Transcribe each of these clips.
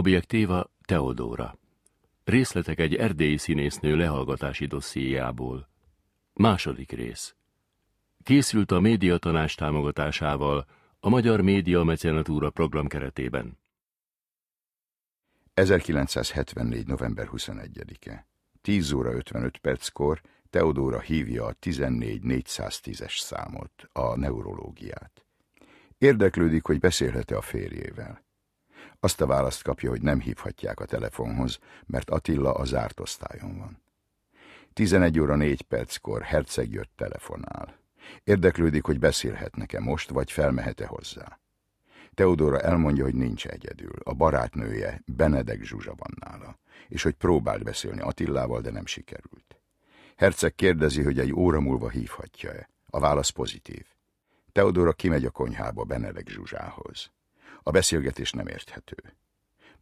Objektíva Teodóra. Részletek egy erdélyi színésznő lehallgatási dossziéjából. Második rész. Készült a média tanács támogatásával a Magyar Média Mecenatúra program keretében. 1974. november 21-e. 10 óra 55 perckor Teodóra hívja a 14.410-es számot, a neurológiát. Érdeklődik, hogy beszélhet-e a férjével. Azt a választ kapja, hogy nem hívhatják a telefonhoz, mert Attila a zárt osztályon van. 11 óra 4 perckor Herceg jött telefonál. Érdeklődik, hogy beszélhetnek-e most, vagy felmehet-e hozzá. Teodora elmondja, hogy nincs egyedül. A barátnője, Benedek Zsuzsa van nála, és hogy próbált beszélni Attillával, de nem sikerült. Herceg kérdezi, hogy egy óra múlva hívhatja-e. A válasz pozitív. Teodora kimegy a konyhába Benedek Zsuzsához. A beszélgetés nem érthető.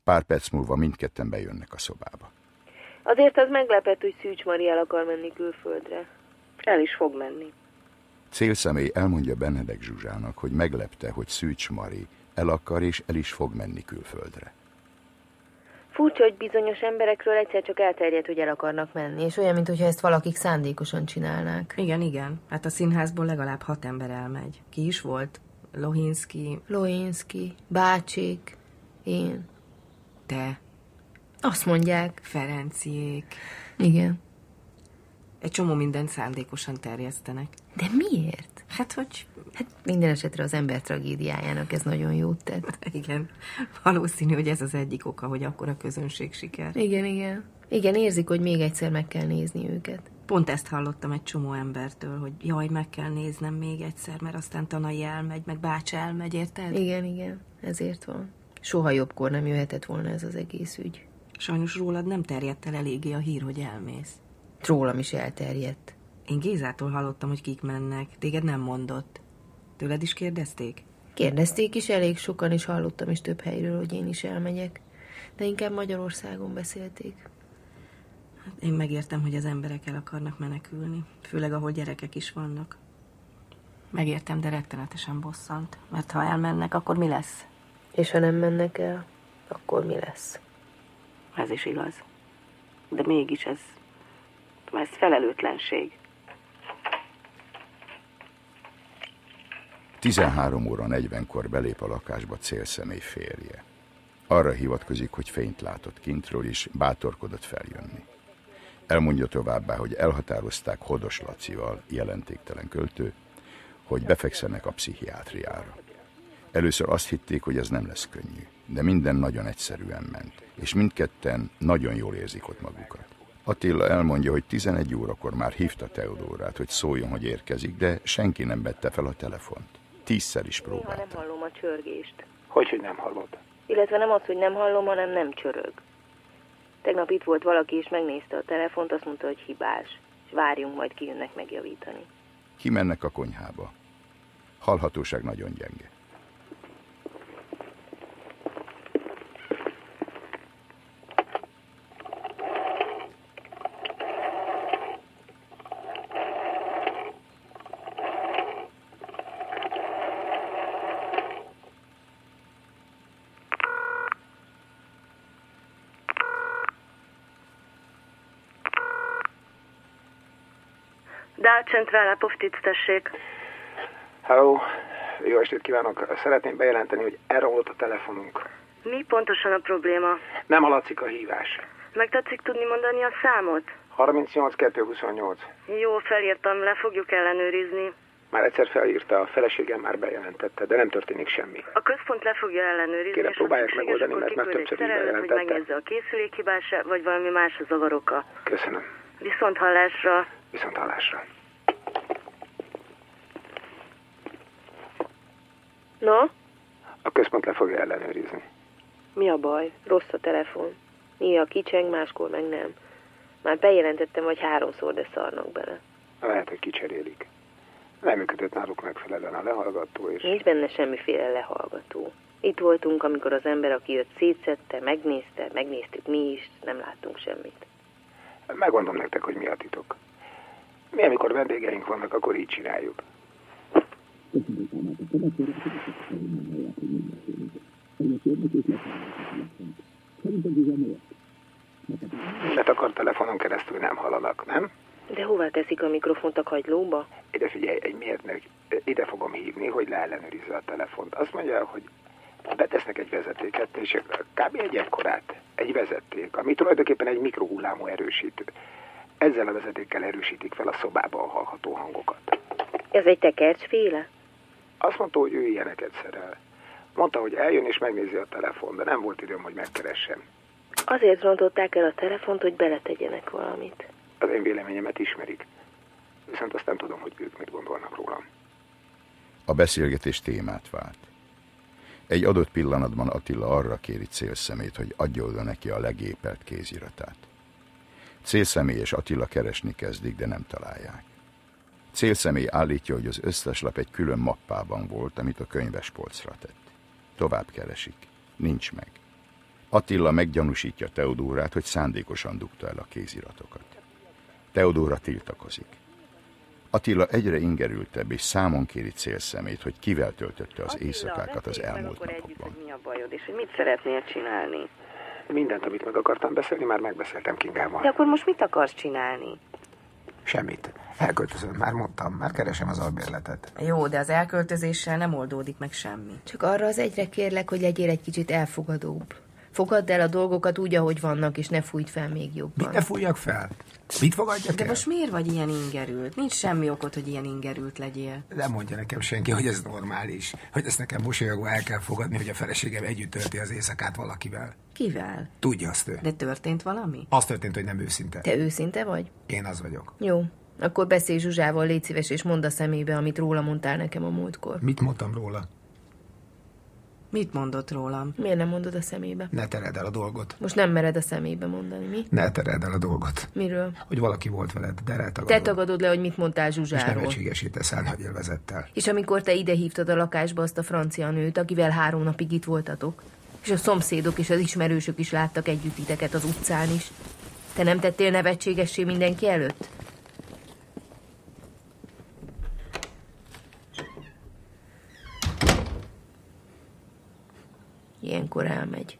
Pár perc múlva mindketten bejönnek a szobába. Azért az meglepett, hogy Szűcs Mari el akar menni külföldre. El is fog menni. Célszemély elmondja Benedek Zsuzsának, hogy meglepte, hogy Szűcs Mari el akar és el is fog menni külföldre. Furcsa, hogy bizonyos emberekről egyszer csak elterjedt, hogy el akarnak menni, és olyan, mintha ezt valakik szándékosan csinálnák. Igen, igen. Hát a színházból legalább hat ember elmegy. Ki is volt? Lohinski, Loinski, bácsik, én. te, Azt mondják. Ferenciék. Igen. Egy csomó mindent szándékosan terjesztenek. De miért? Hát, hogy Hát minden esetre az ember tragédiájának ez nagyon jót tett. igen, valószínű, hogy ez az egyik oka, hogy akkor a közönség siker. Igen, igen. Igen, érzik, hogy még egyszer meg kell nézni őket. Pont ezt hallottam egy csomó embertől, hogy jaj, meg kell néznem még egyszer, mert aztán Tanai elmegy, meg Bács elmegy, érted? Igen, igen. Ezért van. Soha jobbkor nem jöhetett volna ez az egész ügy. Sajnos rólad nem terjedt el eléggé a hír, hogy elmész. Rólam is elterjedt. Én Gézától hallottam, hogy kik mennek, téged nem mondott. Tőled is kérdezték? Kérdezték is elég sokan, és hallottam is több helyről, hogy én is elmegyek. De inkább Magyarországon beszélték. Hát én megértem, hogy az emberek el akarnak menekülni, főleg ahol gyerekek is vannak. Megértem, de rettenetesen bosszant, mert ha elmennek, akkor mi lesz? És ha nem mennek el, akkor mi lesz? Ez is igaz. De mégis ez, ez felelőtlenség. 13 óra 40-kor belép a lakásba célszemély férje. Arra hivatkozik, hogy fényt látott kintről, és bátorkodott feljönni. Elmondja továbbá, hogy elhatározták Hodos Lacival, jelentéktelen költő, hogy befekszenek a pszichiátriára. Először azt hitték, hogy ez nem lesz könnyű, de minden nagyon egyszerűen ment, és mindketten nagyon jól érzik ott magukat. Attila elmondja, hogy 11 órakor már hívta Teodórát, hogy szóljon, hogy érkezik, de senki nem vette fel a telefont. Tízszer is Néha nem próbálta. hallom a csörgést. Hogy, hogy nem hallod? Illetve nem az, hogy nem hallom, hanem nem csörög. Tegnap itt volt valaki, és megnézte a telefont, azt mondta, hogy hibás. És várjunk, majd kijönnek megjavítani. Kimennek a konyhába. Hallhatóság nagyon gyenge. Dál Centrál, Poftic, tessék. Hello, jó estét kívánok. Szeretném bejelenteni, hogy elromlott a telefonunk. Mi pontosan a probléma? Nem haladszik a hívás. Meg tetszik tudni mondani a számot? 38 228. Jó, felírtam, le fogjuk ellenőrizni. Már egyszer felírta, a feleségem már bejelentette, de nem történik semmi. A központ le fogja ellenőrizni, Kérem, és ha próbálják szükséges, megoldani, akkor mert már kiküld egy többször is szerelőt, hogy bejelentettek. megnézze a készülék hibása, vagy valami más a zavaroka. Köszönöm. Viszont hallásra. Viszont hallásra. Na, A központ le fogja ellenőrizni. mi a baj? Rossz a telefon. Néha kicseng, máskor meg nem. Már bejelentettem, hogy háromszor, de szarnak bele. Lehet, hogy kicserélik. Nem működött náluk megfelelően a lehallgató, és Nincs benne semmiféle lehallgató. Itt voltunk, amikor az ember, aki jött, szétszette, megnézte, megnéztük mi is, nem láttunk semmit. megmondom nektek, hogy mi a titok. Mi, amikor vendégeink vannak, akkor így csináljuk. Mert akkor telefonon keresztül nem hallanak, nem? De hova teszik a mikrofont a kagylóba? Ide figyelj, egy mérnök, ide fogom hívni, hogy leellenőrizze a telefont. Azt mondja, hogy betesznek egy vezetéket, és kb. egy ekkorát, egy vezeték, ami tulajdonképpen egy mikrohullámú erősítő. Ezzel a vezetékkel erősítik fel a szobában hallható hangokat. Ez egy tekercsféle? Azt mondta, hogy ő ilyeneket szerel. Mondta, hogy eljön és megnézi a telefon, de nem volt időm, hogy megkeressem. Azért rontották el a telefont, hogy beletegyenek valamit. Az én véleményemet ismerik. Viszont azt nem tudom, hogy ők mit gondolnak rólam. A beszélgetés témát vált. Egy adott pillanatban Attila arra kéri célszemét, hogy adja oda neki a legépelt kéziratát. Célszemély és Attila keresni kezdik, de nem találják. Célszemély állítja, hogy az összes lap egy külön mappában volt, amit a könyves polcra tett. Tovább keresik. Nincs meg. Attila meggyanúsítja Teodórát, hogy szándékosan dugta el a kéziratokat. Teodóra tiltakozik. Attila egyre ingerültebb, és számon kéri célszemét, hogy kivel töltötte az éjszakákat az elmúlt akkor együtt, napokban. hogy mi a bajod, és hogy mit szeretnél csinálni. Mindent, amit meg akartam beszélni, már megbeszéltem Kingával. De akkor most mit akarsz csinálni? Semmit. Elköltözöm, már mondtam, már keresem az albérletet. Jó, de az elköltözéssel nem oldódik meg semmi. Csak arra az egyre kérlek, hogy legyél egy kicsit elfogadóbb. Fogadd el a dolgokat úgy, ahogy vannak, és ne fújt fel még jobban. fújjak fel? Mit fogadjak De most miért vagy ilyen ingerült? Nincs semmi okot, hogy ilyen ingerült legyél. Nem mondja nekem senki, hogy ez normális. Hogy ezt nekem mosolyogva el kell fogadni, hogy a feleségem együtt tölti az éjszakát valakivel. Kivel? Tudja azt ő. De történt valami? Az történt, hogy nem őszinte. Te őszinte vagy? Én az vagyok. Jó. Akkor beszélj Zsuzsával, légy szíves, és mondd a szemébe, amit róla mondtál nekem a múltkor. Mit mondtam róla? Mit mondott rólam? Miért nem mondod a szemébe? Ne tered el a dolgot. Most nem mered a szemébe mondani, mi? Ne tered el a dolgot. Miről? Hogy valaki volt veled, de eltagadod. Te tagadod le, hogy mit mondtál és Zsuzsáról. nevetségesítesz el nagy élvezettel. És amikor te ide hívtad a lakásba azt a francia nőt, akivel három napig itt voltatok, és a szomszédok és az ismerősök is láttak együtt titeket az utcán is, te nem tettél nevetségessé mindenki előtt? Ilyenkor elmegy.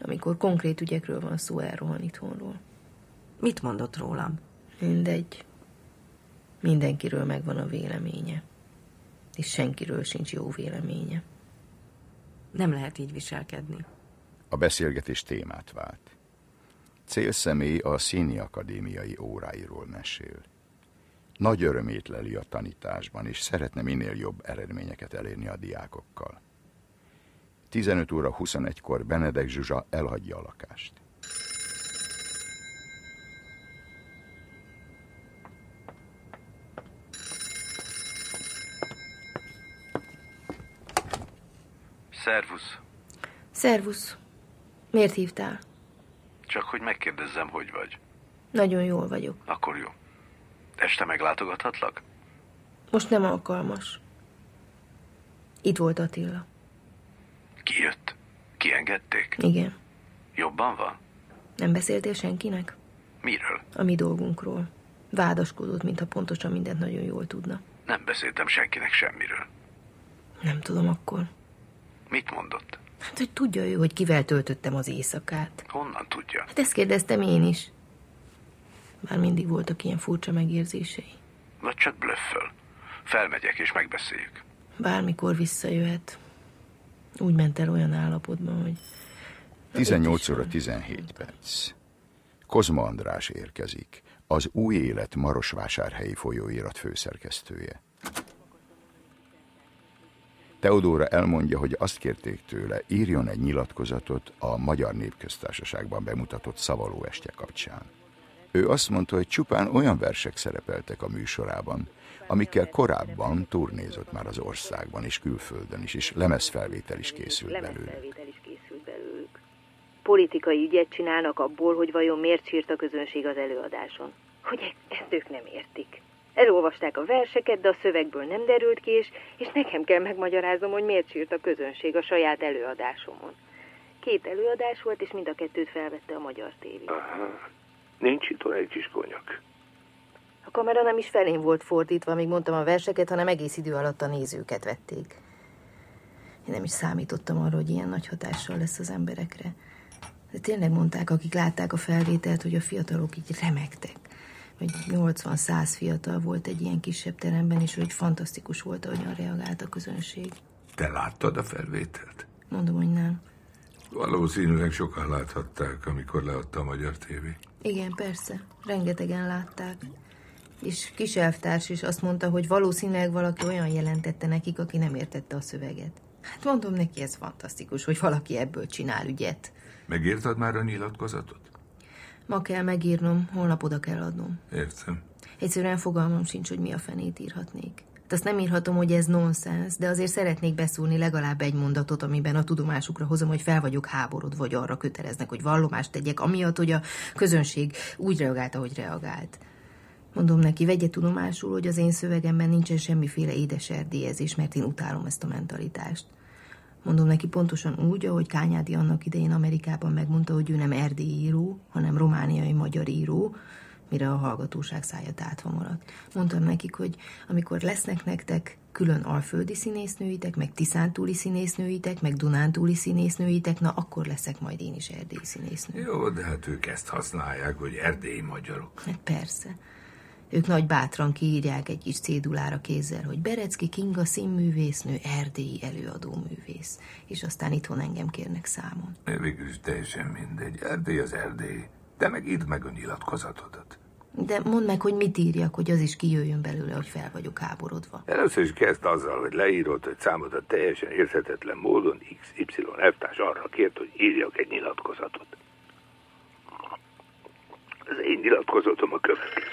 Amikor konkrét ügyekről van szó, elrohan itthonról. Mit mondott rólam? Mindegy. Mindenkiről megvan a véleménye. És senkiről sincs jó véleménye. Nem lehet így viselkedni. A beszélgetés témát vált. Célszemély a színi akadémiai óráiról mesél. Nagy örömét leli a tanításban, és szeretne minél jobb eredményeket elérni a diákokkal. 15 óra 21-kor Benedek Zsuzsa elhagyja a lakást. Szervusz. Szervusz. Miért hívtál? Csak hogy megkérdezzem, hogy vagy. Nagyon jól vagyok. Akkor jó. Este meglátogathatlak? Most nem alkalmas. Itt volt Attila. Ki jött? Kiengedték? Igen. Jobban van? Nem beszéltél senkinek? Miről? A mi dolgunkról. Vádaskodott, mintha pontosan mindent nagyon jól tudna. Nem beszéltem senkinek semmiről. Nem tudom akkor. Mit mondott? Hát, hogy tudja ő, hogy kivel töltöttem az éjszakát. Honnan tudja? Hát ezt kérdeztem én is. Már mindig voltak ilyen furcsa megérzései. Vagy csak blöfföl. Felmegyek és megbeszéljük. Bármikor visszajöhet. Úgy ment el olyan állapotban, hogy... Na, itt is 18 óra van. 17 perc. Kozma András érkezik, az Új Élet Marosvásárhelyi folyóirat főszerkesztője. Teodóra elmondja, hogy azt kérték tőle, írjon egy nyilatkozatot a Magyar Népköztársaságban bemutatott szavaló este kapcsán. Ő azt mondta, hogy csupán olyan versek szerepeltek a műsorában, amikkel korábban turnézott már az országban és külföldön is, és lemezfelvétel is készült belőle. Lemezfelvétel is készült belőlük. Politikai ügyet csinálnak abból, hogy vajon miért sírt a közönség az előadáson. Hogy e- ezt ők nem értik. Elolvasták a verseket, de a szövegből nem derült ki, és, és nekem kell megmagyaráznom, hogy miért sírt a közönség a saját előadásomon. Két előadás volt, és mind a kettőt felvette a magyar tévé. Nincs itt egy kis konyak. A kamera nem is felén volt fordítva, amíg mondtam a verseket, hanem egész idő alatt a nézőket vették. Én nem is számítottam arra, hogy ilyen nagy hatással lesz az emberekre. De tényleg mondták, akik látták a felvételt, hogy a fiatalok így remektek. Hogy 80-100 fiatal volt egy ilyen kisebb teremben, és hogy fantasztikus volt, ahogyan reagált a közönség. Te láttad a felvételt? Mondom, hogy nem. Valószínűleg sokan láthatták, amikor leadta a Magyar TV. Igen, persze. Rengetegen látták. És kis elvtárs is azt mondta, hogy valószínűleg valaki olyan jelentette nekik, aki nem értette a szöveget. Hát mondom neki, ez fantasztikus, hogy valaki ebből csinál ügyet. Megírtad már a nyilatkozatot? Ma kell megírnom, holnap oda kell adnom. Értem. Egyszerűen fogalmam sincs, hogy mi a fenét írhatnék. Hát azt nem írhatom, hogy ez nonsens, de azért szeretnék beszúrni legalább egy mondatot, amiben a tudomásukra hozom, hogy fel vagyok háborod, vagy arra köteleznek, hogy vallomást tegyek, amiatt, hogy a közönség úgy reagált, ahogy reagált. Mondom neki, vegye tudomásul, hogy az én szövegemben nincsen semmiféle édes erdélyezés, mert én utálom ezt a mentalitást. Mondom neki pontosan úgy, ahogy Kányádi annak idején Amerikában megmondta, hogy ő nem erdélyi író, hanem romániai magyar író, mire a hallgatóság szája tátva maradt. Mondtam nekik, hogy amikor lesznek nektek külön alföldi színésznőitek, meg tiszántúli színésznőitek, meg dunántúli színésznőitek, na akkor leszek majd én is erdélyi színésznő. Jó, de hát ők ezt használják, hogy erdélyi magyarok. Hát persze. Ők nagy bátran kiírják egy kis cédulára kézzel, hogy Berecki Kinga színművésznő, erdélyi előadó művész. És aztán itthon engem kérnek számon. Végül is teljesen mindegy. Erdély az erdély. Te meg írd meg a nyilatkozatodat. De mondd meg, hogy mit írjak, hogy az is kijöjjön belőle, hogy fel vagyok háborodva. Először is kezd azzal, hogy leírod, hogy számodra teljesen érthetetlen módon XY elvtárs arra kért, hogy írjak egy nyilatkozatot. Az én nyilatkozatom a következő.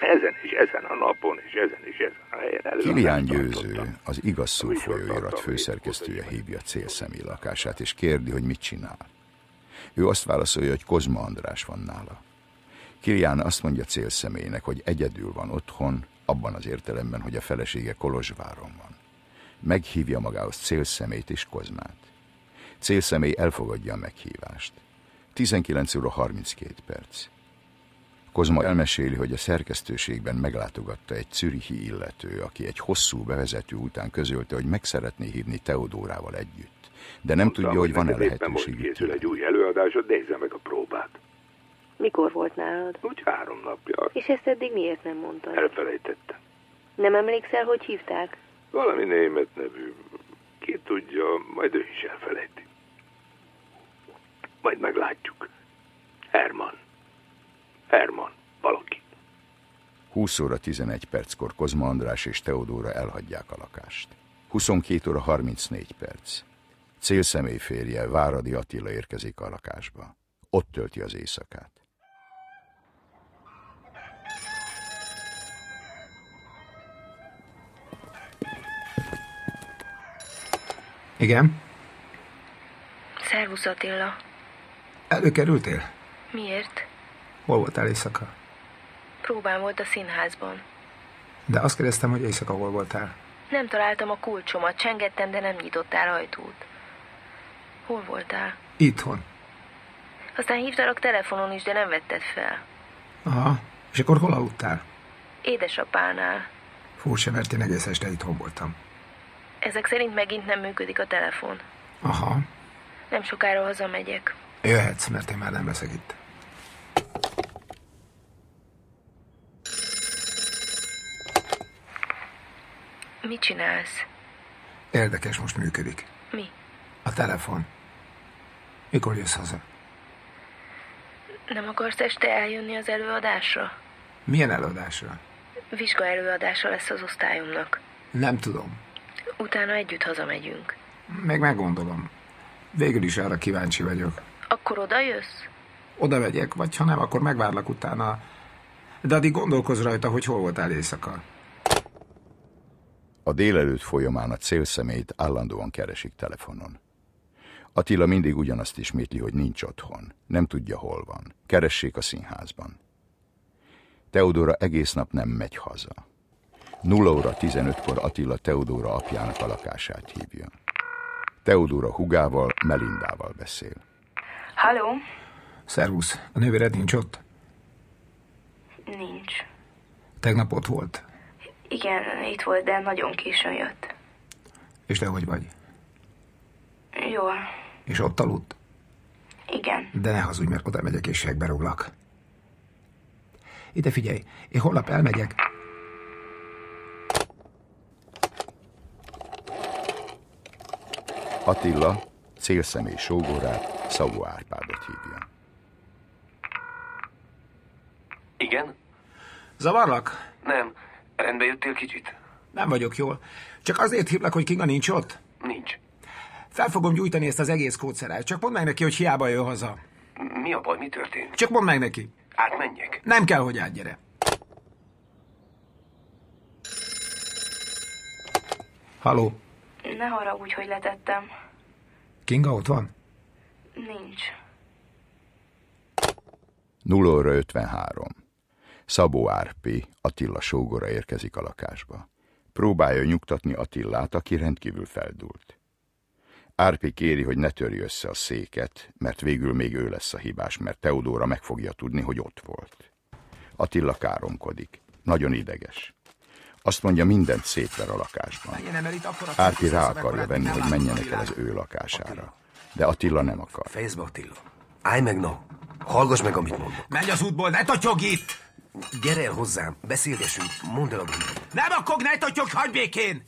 Ezen és ezen a napon, és ezen és ezen a helyen előadást Kilián tartottam. Győző, az igaz szó folyóirat főszerkesztője hívja célszemi lakását, és kérdi, hogy mit csinál. Ő azt válaszolja, hogy Kozma András van nála. Kilián azt mondja célszemélynek, hogy egyedül van otthon, abban az értelemben, hogy a felesége Kolozsváron van. Meghívja magához célszemét és Kozmát. Célszemély elfogadja a meghívást. 19 óra 32 perc. Kozma elmeséli, hogy a szerkesztőségben meglátogatta egy czürihi illető, aki egy hosszú bevezető után közölte, hogy meg szeretné hívni Teodórával együtt, de nem tudja, hogy van-e neked éppen most lehetőség. készül egy új előadásod, nézze meg a próbát. Mikor volt nálad? Úgy három napja. És ezt eddig miért nem mondtad? Elfelejtettem. Nem emlékszel, hogy hívták? Valami német nevű. Ki tudja, majd ő is elfelejti. Majd meglátjuk. Herman. Herman. Valaki. 20 óra 11 perckor Kozma András és Teodóra elhagyják a lakást. 22 óra 34 perc. Célszemély férje Váradi Attila érkezik a lakásba. Ott tölti az éjszakát. Igen? Szervusz Attila. Előkerültél? Miért? Hol voltál éjszaka? Próbám volt a színházban. De azt kérdeztem, hogy éjszaka hol voltál. Nem találtam a kulcsomat, csengettem, de nem nyitottál ajtót. Hol voltál? Itthon. Aztán hívtalak telefonon is, de nem vetted fel. Aha. És akkor hol aludtál? Édesapánál. Furcsa, mert én egész este itthon voltam. Ezek szerint megint nem működik a telefon. Aha. Nem sokára hazamegyek. Jöhetsz, mert én már nem leszek itt. Mit csinálsz? Érdekes, most működik. Mi? A telefon. Mikor jössz haza? Nem akarsz este eljönni az előadásra? Milyen előadásra? Vizsga előadása lesz az osztályomnak. Nem tudom. Utána együtt hazamegyünk. Még meggondolom. Végül is arra kíváncsi vagyok. Akkor oda jössz? Oda megyek, vagy ha nem, akkor megvárlak utána. De addig gondolkozz rajta, hogy hol voltál éjszaka. A délelőtt folyamán a célszemélyt állandóan keresik telefonon. Attila mindig ugyanazt ismétli, hogy nincs otthon, nem tudja, hol van. Keressék a színházban. Teodora egész nap nem megy haza. 0 óra 15-kor Attila Teodora apjának a lakását hívja. Teodora hugával, Melindával beszél. Halló? Szervusz, a nővéred nincs ott? Nincs. Tegnap ott volt. Igen, itt volt, de nagyon későn jött. És te hogy vagy? Jól. És ott aludt? Igen. De ne hazudj, mert oda megyek és segbe rúglak. Ide figyelj, én holnap elmegyek. Attila célszemély sógorát, Szabó Árpádot hívja. Igen? Zavarlak? Nem. Rendbe jöttél kicsit? Nem vagyok jól. Csak azért hívlak, hogy Kinga nincs ott? Nincs. Fel fogom gyújtani ezt az egész kódszerát. Csak mondd meg neki, hogy hiába jön haza. Mi a baj? Mi történt? Csak mondd meg neki. Átmenjek? Nem kell, hogy átgyere. Haló, Ne haragudj, hogy letettem. Kinga ott van? Nincs. 0 óra 53. Szabó Árpi, Attila sógora érkezik a lakásba. Próbálja nyugtatni Attillát, aki rendkívül feldult. Árpi kéri, hogy ne törj össze a széket, mert végül még ő lesz a hibás, mert Teodóra meg fogja tudni, hogy ott volt. Attila káromkodik. Nagyon ideges. Azt mondja, mindent szétver a lakásban. Menjenem el itt akkor a Árpi rá akarja venni, hogy menjenek el az ő lakására. De Attila nem akar. Fejezd be, Attila. Állj meg, no. Hallgass meg, amit mondok. Menj az útból, ne totyog itt! Gyere el hozzám, beszélgessünk, mondd el a gondot. Nem akkor ne totyog, hagyd békén!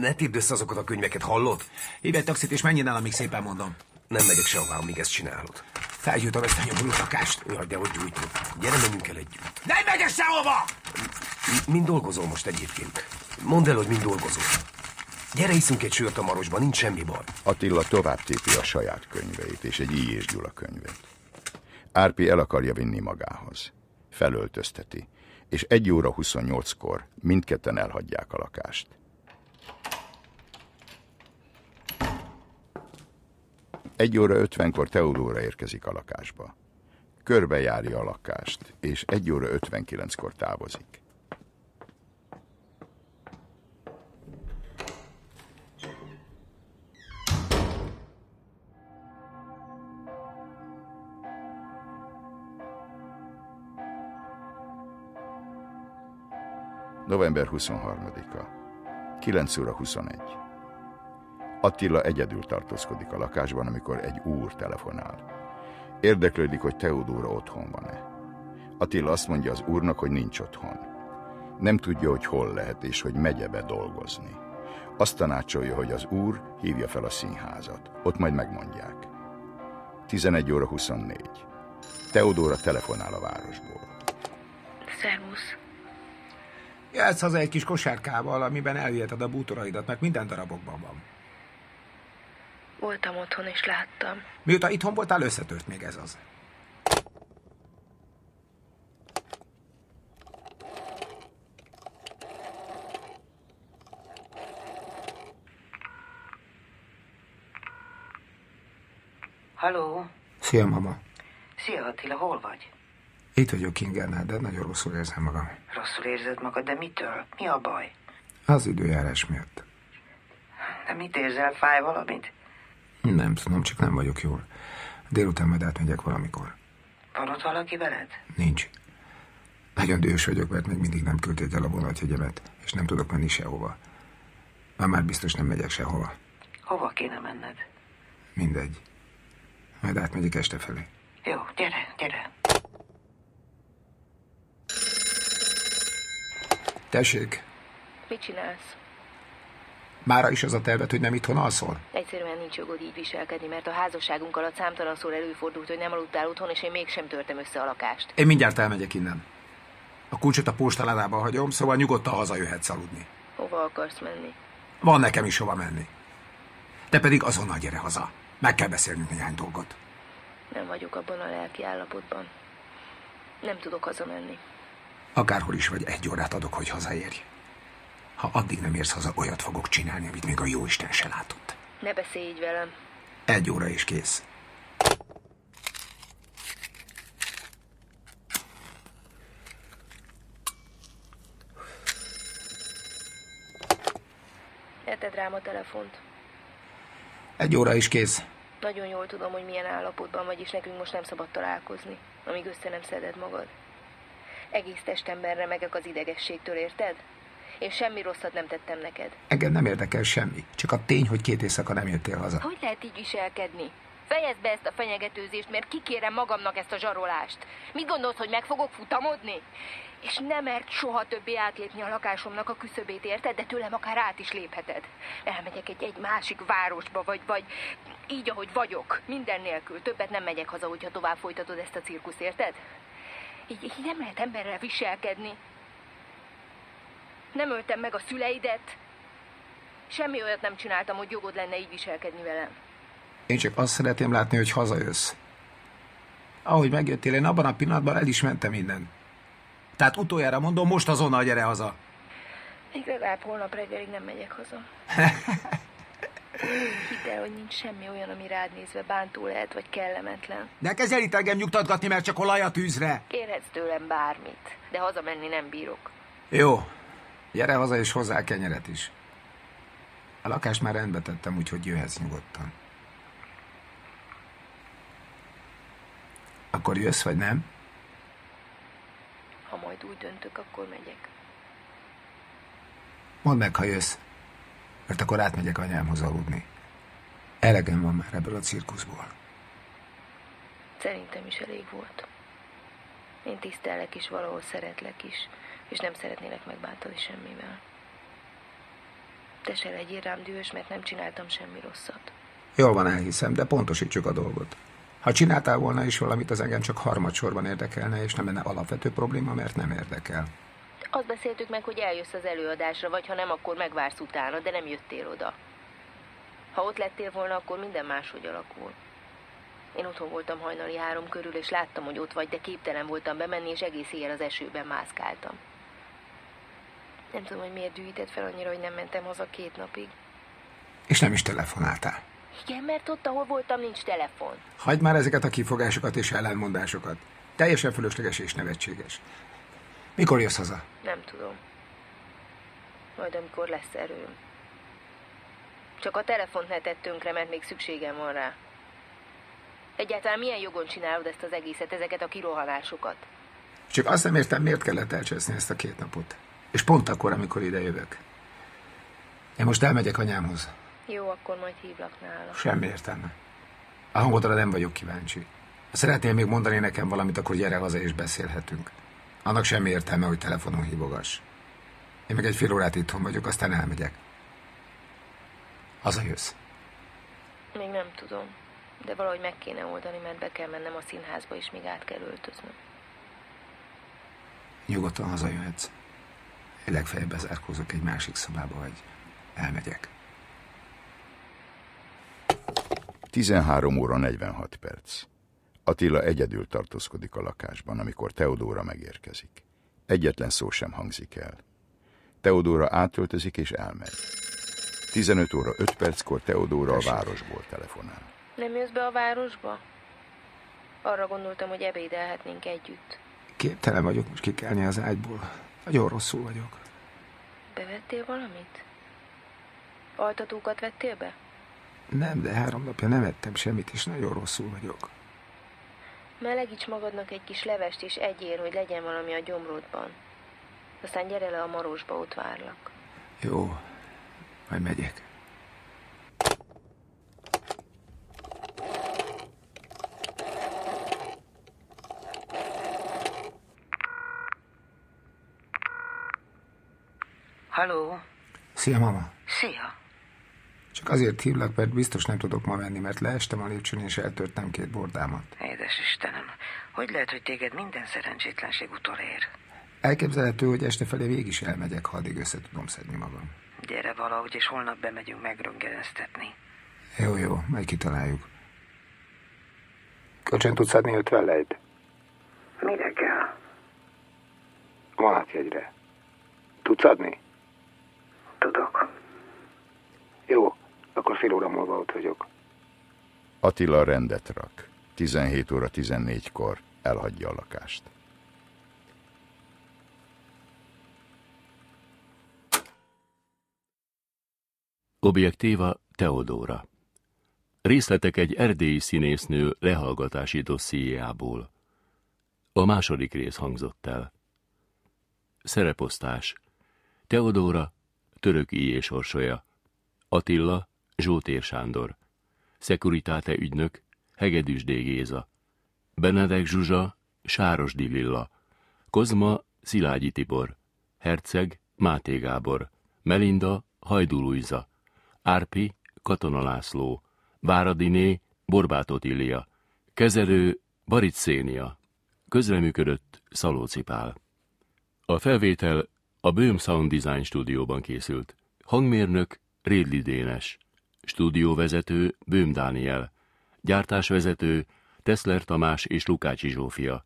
Ne tépd össze azokat a könyveket, hallod? Hívj egy taxit és menjen el, amíg szépen mondom. Nem megyek sehová, amíg ezt csinálod. Felgyújtom ezt a nyomorú lakást. Jaj, de hogy gyújtod. Gyere, menjünk el együtt. Nem megyek sehova! Mi- Mind dolgozol most egyébként? Mondd el, hogy mind dolgozol. Gyere, iszunk egy sört a marosba, nincs semmi baj. Attila tovább tépi a saját könyveit, és egy íj és Gyula könyvét. Árpi el akarja vinni magához. Felöltözteti, és 1 óra 28-kor mindketten elhagyják a lakást. Egy óra 50-kor Teodóra érkezik a lakásba. Körbejárja a lakást, és 1 óra 59-kor távozik. November 23-a. 9 óra 21. Attila egyedül tartózkodik a lakásban, amikor egy úr telefonál. Érdeklődik, hogy Teodóra otthon van-e. Attila azt mondja az úrnak, hogy nincs otthon. Nem tudja, hogy hol lehet és hogy megye be dolgozni. Azt tanácsolja, hogy az úr hívja fel a színházat. Ott majd megmondják. 11 óra 24. Teodóra telefonál a városból. Szervusz. Jössz haza egy kis kosárkával, amiben elviheted a bútoraidat, meg minden darabokban van. Voltam otthon és láttam. Mióta itthon voltál, összetört még ez az. Haló? Szia, mama. Szia Attila, hol vagy? Itt vagyok Kingánál, de nagyon rosszul érzem magam. Rosszul érzed magad, de mitől? Mi a baj? Az időjárás miatt. De mit érzel? Fáj valamit? Nem tudom, csak nem vagyok jól. Délután majd átmegyek valamikor. Van ott valaki veled? Nincs. Nagyon dühös vagyok, mert még mindig nem küldték el a vonatjegyemet, és nem tudok menni sehova. Már már biztos nem megyek sehova. Hova kéne menned? Mindegy. Majd átmegyek este felé. Jó, gyere, gyere. Tessék, Mit csinálsz? mára is az a terved, hogy nem itthon alszol? Egyszerűen nincs jogod így viselkedni, mert a házasságunk alatt számtalanszor előfordult, hogy nem aludtál otthon, és én mégsem törtem össze a lakást. Én mindjárt elmegyek innen. A kulcsot a postaládába hagyom, szóval nyugodtan hazajöhetsz aludni. Hova akarsz menni? Van nekem is hova menni. Te pedig azonnal gyere haza. Meg kell beszélnünk néhány dolgot. Nem vagyok abban a lelki állapotban. Nem tudok hazamenni. Akárhol is vagy, egy órát adok, hogy hazaérj. Ha addig nem érsz haza, olyat fogok csinálni, amit még a jóisten se látott. Ne beszélj így velem. Egy óra és kész. Ne tedd rám a telefont. Egy óra és kész. Nagyon jól tudom, hogy milyen állapotban vagy, és nekünk most nem szabad találkozni, amíg össze nem szeded magad. Egész testemben remegek az idegességtől, érted? Én semmi rosszat nem tettem neked. Engem nem érdekel semmi. Csak a tény, hogy két éjszaka nem jöttél haza. Hogy lehet így viselkedni? Fejezd be ezt a fenyegetőzést, mert kikérem magamnak ezt a zsarolást. Mit gondolsz, hogy meg fogok futamodni? És nem mert soha többé átlépni a lakásomnak a küszöbét, érted? De tőlem akár át is lépheted. Elmegyek egy, egy másik városba, vagy, vagy így, ahogy vagyok. Minden nélkül. Többet nem megyek haza, hogyha tovább folytatod ezt a cirkuszt, érted? Így, így nem lehet emberrel viselkedni. Nem öltem meg a szüleidet. Semmi olyat nem csináltam, hogy jogod lenne így viselkedni velem. Én csak azt szeretném látni, hogy hazajössz. Ahogy megjöttél, én abban a pillanatban el is mentem innen. Tehát utoljára mondom, most azonnal gyere haza. Legalább holnap reggelig nem megyek haza. Hidd el, hogy nincs semmi olyan, ami rád nézve bántó lehet, vagy kellemetlen. De kezel itt engem nyugtatgatni, mert csak olaj a tűzre. Kérhetsz tőlem bármit, de hazamenni nem bírok. Jó. Gyere haza és hozzá kenyeret is. A lakást már rendbe tettem, úgyhogy jöhetsz nyugodtan. Akkor jössz, vagy nem? Ha majd úgy döntök, akkor megyek. Mondd meg, ha jössz. Mert akkor átmegyek anyámhoz aludni. Elegem van már ebből a cirkuszból. Szerintem is elég volt. Én tisztellek is, valahol szeretlek is, és nem szeretnélek megbántani semmivel. Te se legyél rám dühös, mert nem csináltam semmi rosszat. Jól van, elhiszem, de pontosítsuk a dolgot. Ha csináltál volna is valamit, az engem csak harmadsorban érdekelne, és nem lenne alapvető probléma, mert nem érdekel. Azt beszéltük meg, hogy eljössz az előadásra, vagy ha nem, akkor megvársz utána, de nem jöttél oda. Ha ott lettél volna, akkor minden máshogy alakul. Én otthon voltam hajnali három körül, és láttam, hogy ott vagy, de képtelen voltam bemenni, és egész éjjel az esőben mászkáltam. Nem tudom, hogy miért dühített fel annyira, hogy nem mentem haza két napig. És nem is telefonáltál. Igen, mert ott, ahol voltam, nincs telefon. Hagyd már ezeket a kifogásokat és ellenmondásokat. Teljesen fölösleges és nevetséges. Mikor jössz haza? Nem tudom. Majd amikor lesz erőm. Csak a telefont ne tett tönkre, mert még szükségem van rá. Egyáltalán milyen jogon csinálod ezt az egészet, ezeket a kirohanásokat? Csak azt nem értem, miért kellett elcseszni ezt a két napot. És pont akkor, amikor ide jövök. Én most elmegyek anyámhoz. Jó, akkor majd hívlak nála. Semmi értelme. A hangodra nem vagyok kíváncsi. Ha szeretnél még mondani nekem valamit, akkor gyere haza és beszélhetünk. Annak semmi értelme, hogy telefonon hívogass. Én meg egy fél órát itthon vagyok, aztán elmegyek. Hazajössz. Még nem tudom. De valahogy meg kéne oldani, mert be kell mennem a színházba, és még át kell öltöznöm. Nyugodtan hazajöhetsz. Én legfeljebb bezárkózok egy másik szobába, vagy elmegyek. 13 óra 46 perc. Attila egyedül tartózkodik a lakásban, amikor Teodóra megérkezik. Egyetlen szó sem hangzik el. Teodóra átöltözik és elmegy. 15 óra 5 perckor Teodóra a városból telefonál. Nem jössz be a városba? Arra gondoltam, hogy ebédelhetnénk együtt. Képtelen vagyok most kikelni az ágyból. Nagyon rosszul vagyok. Bevettél valamit? Altatókat vettél be? Nem, de három napja nem ettem semmit, és nagyon rosszul vagyok. Melegíts magadnak egy kis levest, és egyél, hogy legyen valami a gyomrodban. Aztán gyere le a marosba, ott várlak. Jó, majd megyek. Haló? Szia, mama. Szia. Csak azért hívlak, mert biztos nem tudok ma menni, mert leestem a lépcsőn és eltörtem két bordámat. Édes Istenem, hogy lehet, hogy téged minden szerencsétlenség utolér? Elképzelhető, hogy este felé végig is elmegyek, ha addig össze tudom szedni magam. Gyere valahogy, és holnap bemegyünk megröngeneztetni. Jó, jó, majd kitaláljuk. Kölcsön tudsz adni 50 lejt? Mire kell? Vonatjegyre. Tudsz adni? Tudok. Jó, akkor fél óra múlva ott vagyok. Attila rendet rak. 17 óra 14-kor elhagyja a lakást. Objektíva Teodóra. Részletek egy erdélyi színésznő lehallgatási dossziéjából. A második rész hangzott el. Szereposztás. Teodóra, török és orsolya. Attila, Zsótér Sándor. Szekuritáte ügynök, Hegedűsdé Géza, Benedek Zsuzsa, Sárosdi Lilla, Kozma, Szilágyi Tibor, Herceg, Máté Gábor, Melinda, Hajdú Luisa, Árpi, Katona László, Váradiné, Borbát Otília, Kezelő, Baricénia, közreműködött Szalóci Pál. A felvétel a Böhm Sound Design stúdióban készült. Hangmérnök Rédli Dénes, stúdióvezető Böhm Dániel, gyártásvezető Teszler Tamás és Lukácsi Zsófia,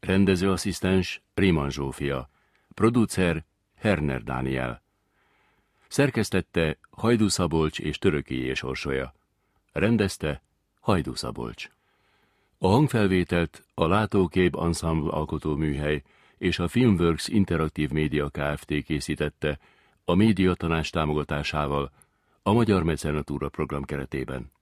rendezőasszisztens Réman Zsófia, producer Herner Dániel. Szerkesztette Hajdú Szabolcs és Töröki és Orsolya. Rendezte Hajdú Szabolcs. A hangfelvételt a Látókép Ensemble alkotóműhely és a Filmworks Interaktív Média Kft. készítette a médiatanács támogatásával a Magyar Mecenatúra program keretében.